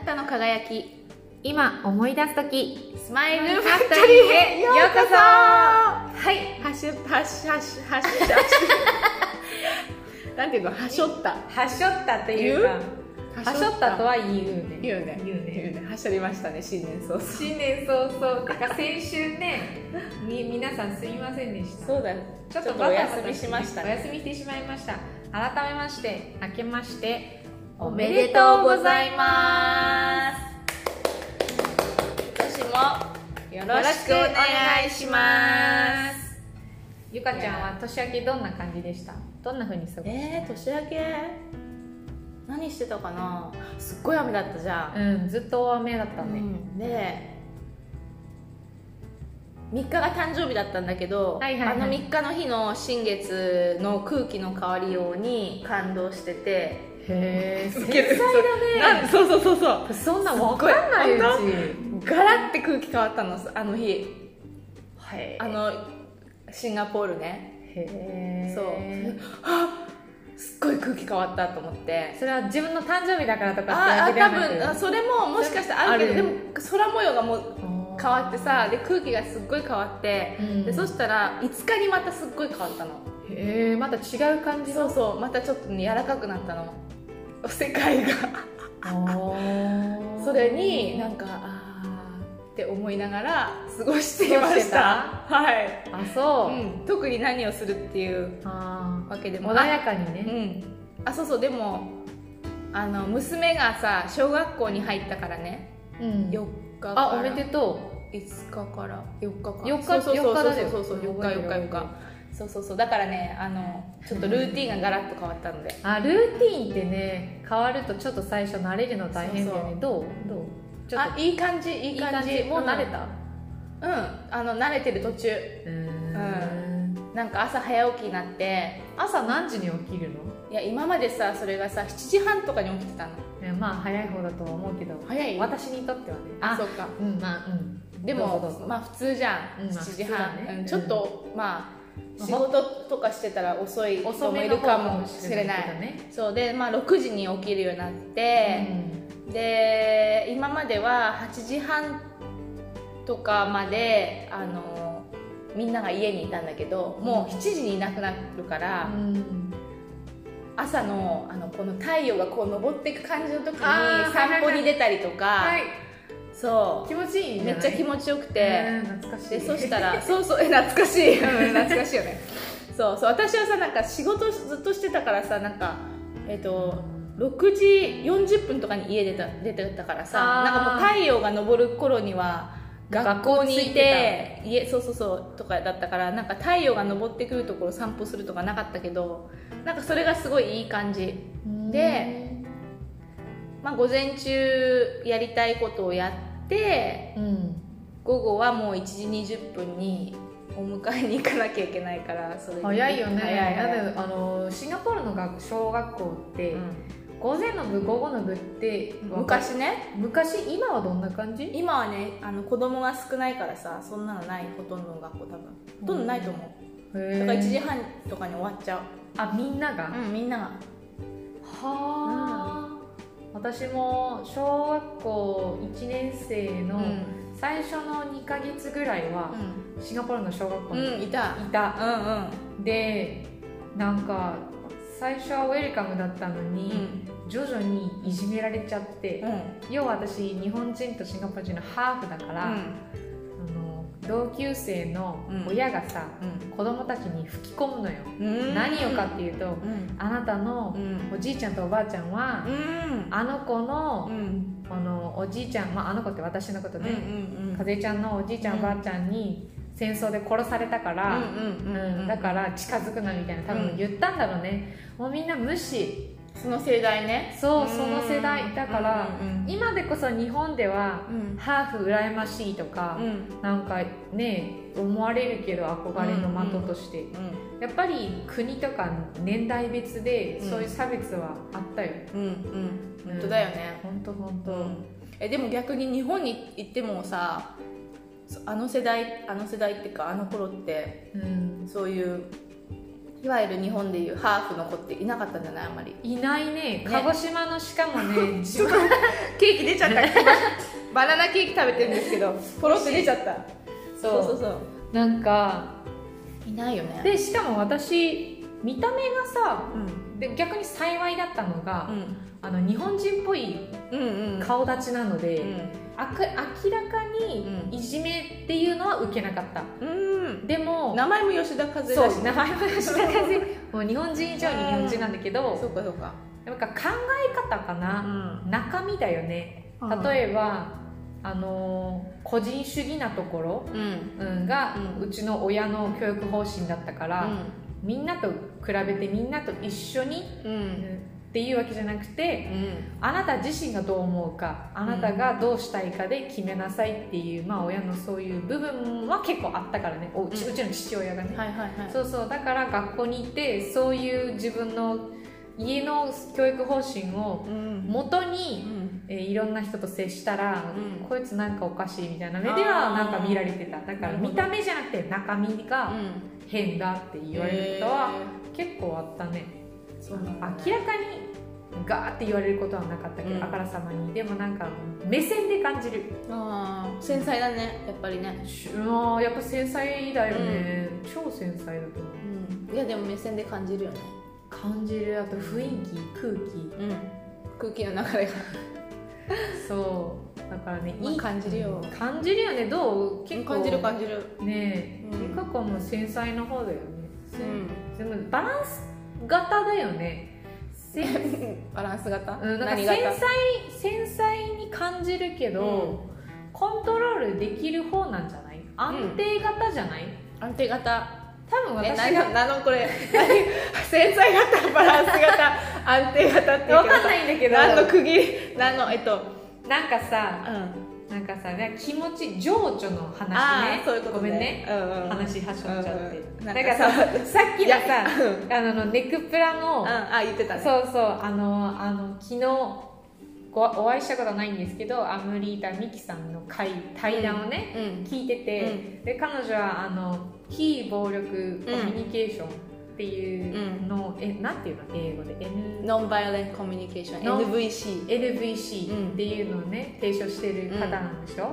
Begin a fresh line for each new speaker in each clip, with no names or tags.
ったの輝き
今思い出すとき
スマイルファクトリーへようこそはいはしょはしはしはしはし なんていうのはしょった
はしょったというかはしょったとは言うね
言うね
言う
言う
ね
ねはしょりましたね新年早々
新年早々てか先週ね み皆さんすみませんでした
そうだ
ちょっ
ち
と
ょっと
バ
お
タバタ
休みしましたね
お休みしてしまいました改めまして明けまして
おめでとうございます
す今年もよろしくお願いしますゆかちゃんは年明けどんな感じでしたどんな風に過ごした
えー、年明け何してたかなすっごい雨だったじゃん、
うんずっと大雨だったね、
うんで3日が誕生日だったんだけど、
はいはいはい
あの3日の日の新月の空気の変わりように感動してて
へえ繊
ウ
細
ケる
だね
そうそうそうそう
そんなんわかんないうち
すガラッて空気変わったのあの日
はい
あのシンガポールね
へえ
そうあすっごい空気変わったと思って
それは自分の誕生日だからとか
ああ
では
多
なく
分あそれももしかしたらあるけど
ある
でも空模様がもう
あー
変わってさで空気がすっごい変わって、
うん
でそしたら5日にまたすっごい変わったの
へえまた違う感じ
そうそうまたちょっとね柔らかくなったの世界がそ
そ
れになんかあーって思いながら過ごしていま
過ごし
してた
た
はい、
あそう、
うん、特に何をするっていう
あ
わけで
ー
も
穏やかにね、
うんあそうそうでもあの娘がさ小学校に入ったからね
うん
4日から
あおめでと
5日から4日か
4日
そうそうそう
4日だよ
そうそうそう4日4日4日そうそうそうだからねあのちょっとルーティンがガラッと変わったので
うあルーティンってね変わるとちょっと最初慣れるの大変だよね
そう
どうどうちょっ
あいい感じい
と
い感じ
もう慣れた
うん、うんあの慣れてる途中
うーん
なんか朝早起きになって
朝何時に起きるの
いや今までさそれがさ7時半とかに起きてたの
ねまあ早い方だとは思うけど
早い
私にとってはね
あそうか
うんまあうん
でも
どうぞどうぞ
まあ普通じゃ
う
ん、
んまあ
7時半、
普通だね
うんちょっと、まあ仕事とかしてたら遅い人
遅
も
め
い
の
るか
方か
も
も
し
し
れ
れ
な
ないいけどね
そうで、まあ、6時に起きるようになって、で今までは8時半とかまであのみんなが家にいたんだけどもう7時にいなくなるから、
うん
朝のあのこの太陽がこう昇っていく感じの時に
あー
散歩に出たりとか、
はい
そ
気持ちいいうじ
め
ゃ
っ
ない
ちゃ気持ちよくて、
えー懐かしい
でそしたらそうそうえ懐かしいうん懐かしいよね そうそう私はさなんか仕事ずっとしてたからさなんかえっ、と6時40分とかに家出た出てたからさ
あー
なんかもう太陽が昇る頃には学
学
校
校
に
に
い
いて
て家そうそうそうとかだったからなんか太陽が昇ってくるところ散歩するとかなかったけどなんかそれがすごいいい感じでまあ午前中やりたいことをやって
うん
午後はもう1時20分にお迎えに行かなきゃいけないからそれに
早いよね
早い早い
だってあのシンガポールの学小学校って、
うん
午前の部午後の部って
昔ね
昔今はどんな感じ
今はねあの子供が少ないからさそんなのないほとんどの学校多分ほとんどないと思う、
だ
だから1時半とかに終わっちゃ
あみんなが、
う、
は
うん、みんなが
あ、私も小学校1年生
う
の
ん
最初の2か月ぐらいはシンガポールの小学校
うん
にい
うんいた
た、
うんうん
でなんか最初はウェルカムだったの
う
に、
ん
徐々にいじめられちゃって、
うん
要は私日本人とシンガポール人のハーフだから、あの同級生の親がさ、子供たちに吹き込むのよ、
うん
何をかっていうと、
うん
あなた
う
の
ん
おじいちゃんとおばあちゃんは、
うん
あの子の,、
うん
あのおじいちゃん、まあ、あの子って私のこと
うん
で、
うん
かずえちゃんのおじいちゃん、
うん
おばあちゃんに戦争で殺されたから、
うんうん
うんだから近づくなみたいな多分言ったんだろうね、もうみんな無視
その世代ね
そうその世代だから、
うん
今でこそ日本では
うん
ハーフ羨ましいとか
う、ん
なんかね思われるけど憧れの的として、
うん
やっぱり国とか年代別で
うん
そういう差別はあったよ、
うんうん本当だよね
ほんとほんと、
えでも逆に日本に行ってもさそあの世代あの世代っていうかあの頃って
うん
そういういわゆる日本でいうハーフの子っていなかったんじゃないあんまり
いないね鹿児島のしかも ね自分
ケーキ出ちゃったバナナケーキ食べてるんですけどポロって出ちゃったそうそうそう
なんか
いないよね
でしかも私見た目がさ、で逆に幸いだったのが、あの日本人っぽい
うんうん
顔立ちなので、
う
あく明らか
うん
にいじめっていうのは受けなかった、
ん
でも
名前も吉田風
そ
だ
う
し
名前も吉田先 生もう日本人以上に日本人なんだけ
そ
ど
うかそうか
なんか考え方かな、中身だよね
え
例えば、あのー個人主義なところ、
ばうん
うん、が、
う
うちの親の教育方針だったから、みんなと比べてみんなと一緒に、
うんう
うん
ん
っていうわけじゃなくてあなた自身がどう思うかあなたがどうしたいかで決めなさいっていう、まあ、親のそういう部分は結構あったからねおうち,、
うん
うちの父親がね、
はいはいはい
そうそうだから学校に行ってそういう自分の家の教育方針を
うん
元
う
に、
ん
えーいろんな人と接したら、
うん
こいつなんかおかしいみたいな目ではなんか見られてただか
な
ら
るほど
見た目じゃなくて中身
う
が
ん
変だって言われることは結構あったね、
そうなん
明
だ
ら
ね
かにガーって言われることはなかったけど、
うん
あからさまにでもなんか目線で感じる
あー繊細だねやっぱりね
しうわーやっぱ繊細だよね、超繊細だと思う
うんいやでも目線で感じるよね
感じるあと雰囲気空気
うん空気の流れが
そうだからね、
まあ感じるよ
うん感じるよねどう結構
感じる感じる
ねえ、
うん
結構もう繊細な方だよね、
うん
でもバランス型だよねせ
バランス型
うんなんか繊
何
細
型
繊細に感じるけど、コントロールできる方なんじゃない安定型じゃない、
安定型
多分
え
私
何
が
が何のこれ何繊細 型バランス型安定型っていう
わ
けど
かんないんだけど
何の区切り何のえっと
なんかさ
うん
なんかさなんか気持ち情緒の話
あ
ね
あそういうこと
ごめんね、
うんうん
話はしょっちゃって、
うんうん
なんかさ
なん
さっき
い
の
や
さ
うん
あのあのネクプラの、
あ言ってたね
そうそうあのあの昨日ごお会いしたことはないんですけどアムリータ・ミキさんの会対談をね、
うん
聞いてて、で彼女はあの非暴力コミュニケーションっていうのを、えなんていうの英語で N
ノンバイオレントコミュニケーション
ノン
NVC
LVC っていうのをね提唱してる方なんでしょ、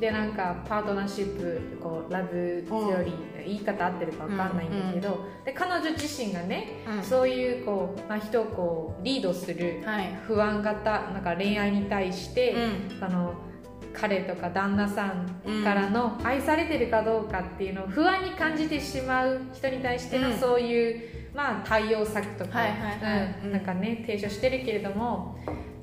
でなんかパートナーシップこうラブセオリー、言い方合ってるかわかんないんだけど、で彼女自身がね、そういうこう、まあ、人をこうリードする
はい
不安型なんか恋愛に対して、
うん
あの彼とか旦那さんからの愛されてるかどうかっていうのを不安に感じてしまう人に対して
う
の
ん
そういう、まあ、対応策とか
はいはいはい
うんなんかね提唱してるけれども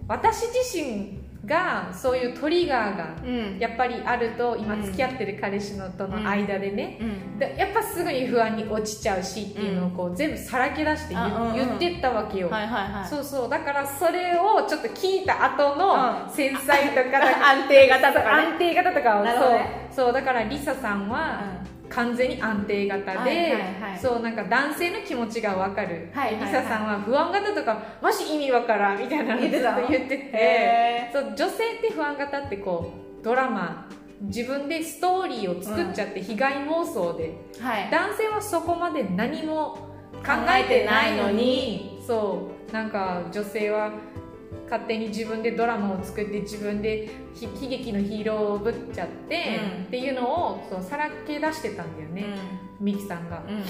私自身がそういうトリガーが
うん
やっぱりあると今
うん
付き合ってる彼氏のとの間でね、
うん
でやっぱすぐに不安に落ちちゃうしっていうのをこう全部さらけ出して言,、
あうんうん
言ってったわけよ。
はいはいはい
そうそうだからそれをちょっと聞いた後
う
の繊細とかなんか
安定型とかね
安定型とかを
なるほどね
そうそうだからリサさんは完全に安定型で、
はいはいはい
そうなんか男性の気持ちがわかる、
はいはいは
リ
い
サさんは不安型とかマジ意味わからんみたいなの
言ってた
ずっと言って
うん
て
へ
そう女性って不安型ってこうドラマ自分でストーリーを作っちゃって被害妄想で、
ーはい
男性はそこまで何も考えてないのにそうなんか女性は勝手に自分でドラマを作って自分でひ悲劇のヒーローをぶっちゃって、
うん
っていうのをそうさらけ出してたんだよね、ミキさんが
う。んうん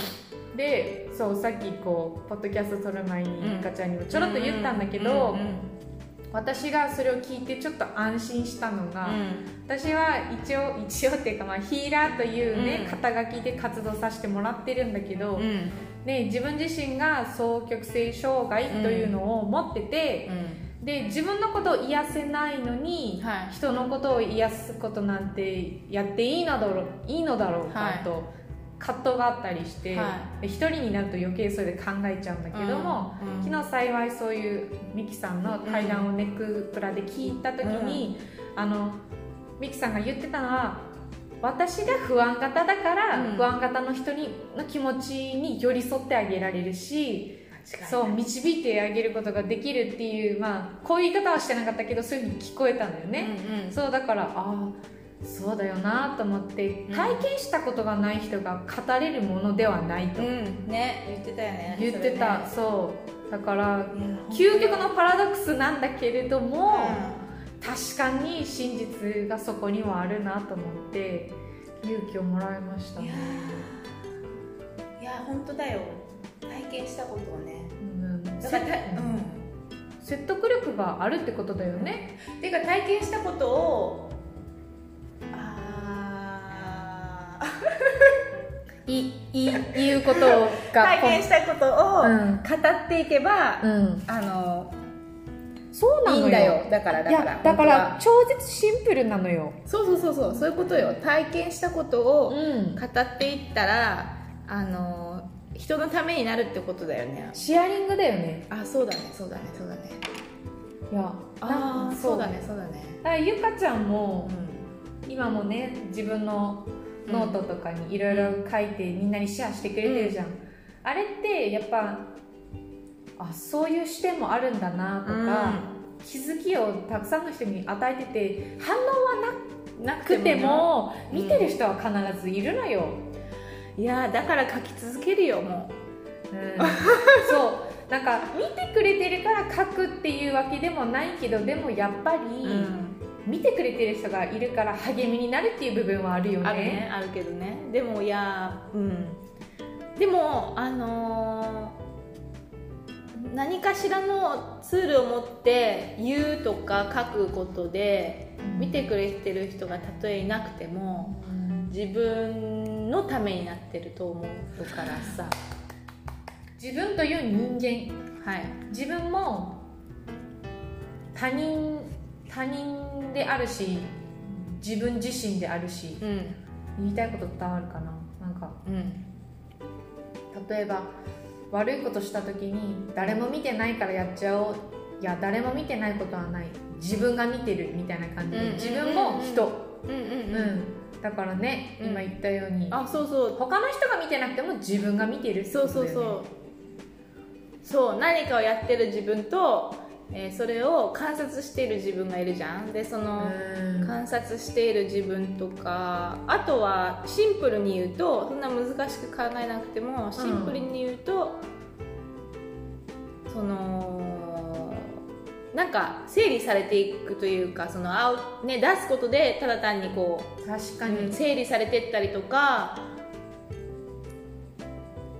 でそうさっきこうポッドキャスト撮る前
う
に
ん
ガチャにもちょろっと言ったんだけど、
うんうん
私がそれを聞いてちょっと安心したのが、私は一応一応っていうか、まあ、ヒーラーというね、
うん
肩書きで活動させてもらってるんだけど、
うんうん
ね、自分自身が双極性障害というのを持ってて、で自分のことを癒せないのに、
はい
人のことを癒すことなんてやっていいのだろういいのだろう
は
か
い
と、葛藤があったりして、
は
で一人になると余計それで考えちゃうんだけども、
うんうん
昨日幸いそういうミキさんの対談をネクプラで聞いた時に、あのミキさんが言ってたのは私が不安型だから、
うん
不安型の人にの気持ちに寄り添ってあげられるし
そ
そう
う
導いてあげることができるっていう、まあ、こういう言い方はしてなかったけどそういうふうに聞こえたんだよね、
ね
そうだからああそうだよなと思って
うん
体験したことがない人が語れるものではないと
うんね言ってたよね
言ってた、そうだから
それね
究極のパラドックスなんだけれども、
う
確かに真実がそこにはあるなと思って勇気をもらいました
んいや
ね、
ーいやー本当だよ体験したことをね
うん、
だか
せ
らたうん
説得力があるってことだよね
ていうか体験したことをあー
い い言うことが
体験したことを
うん
語っていけば、
うん
あの
そうなの
いい
よ
んだよだからだ
い
から
やだから
本
超絶シンプルなのよ、
当はそうそうそうそうそういうことよ体験したこと
う
を
ん、
語っていったらあの人のためになるってことだよね
シェアリングだよね
あそうだねそうだねそうだね
いや
ああそうだね
だ
そうだね
からゆかちゃんも
う
今もね自分のノートとかにいろいろ書いてみんなにシェアしてくれてるじゃん、あれってやっぱあそういう視点もあるんだなとか、気づきをたくさんの人に与えてて反応は
な
なくても
うん
見てる人は必ずいるのよ、
いやーだから書き続けるよも
うん そうなんか見てくれてるから書くっていうわけでもないけどでもやっぱり、
う、
見てくれてる人がいるから励みになるっていう部分はあるよね
あるねあるけどねでもいやーうんでもあのー何かしらのツールを持って言うとか書くことで
うん
見てくれてる人がたとえいなくても自分のためになってると思うからさ
自分という人間
はい
自分も他人他人であるし自分自身であるし
うん
言いたいこと伝わるかななんか
うん
例えば悪いことした時に誰も見てないからやっちゃおういや誰も見てないことはない自分が見てるみたいな感じ
うん
で自分も人、
うん
う
うん
んだからね
うん
今言ったように
あそうそう
他の人が見てなくても自分が見てるって
そうそうそう、そう何かをやってる自分と、えーそれを観察している自分がいるじゃんでその、観察している自分とかあとはシンプルに言うとそんな難しく考えなくてもシンプルに言うと、そのなんか整理されていくというかそのあう、ね、出すことでただ単にこう
確かに、
うん整理されてったりとか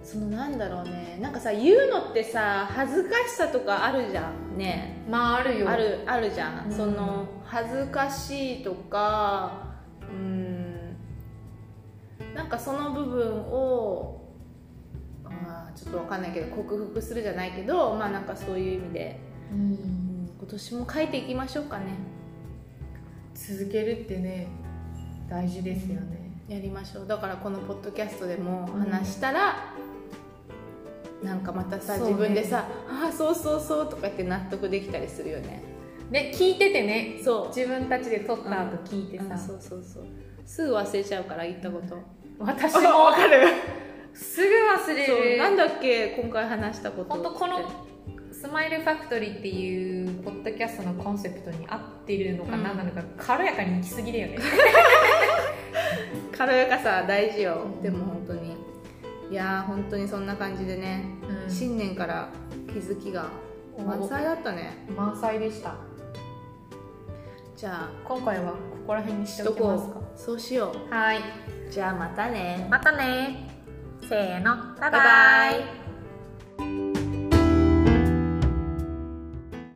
そのなんだろうねなんかさ言うのってさ恥ずかしさとかあるじゃんね
まああるよ
あるあるじゃん、
うん
その恥ずかしいとかうんなんかその部分をあーちょっとわかんないけど克服するじゃないけどまあなんかそういう意味で、
うん
うん今年も書いていきましょうかね
続けるってね大事ですよね、
やりましょうだからこのポッドキャストでも話したら、なんかまたさ、
そうね
自分でさ「ああそうそうそう」とか言って納得できたりするよね
ね聞いててね
そう
自分たちで撮った後聞いて
うん
さ、
そうそうそうすぐ忘れちゃうから言ったこと
私
あ
も
かる
すぐ忘れ
そう
る
なんだっけ今回話したこと
本当このスマイルファクトリーっていうポッドキャストのコンセプトに合ってるのか
うん
何なのか軽やかに行き過ぎだよね
軽やかさ大事よ、
うん
でも本当にいやー本当にそんな感じでね、
うん
新年から気づきが満載だったね
満載でした
じゃあ
今回はここら辺にし
して
お
と
きます
こ
か
うそうしよ
はいう
じゃあまたね
またねせーのバイバイ
バイバイ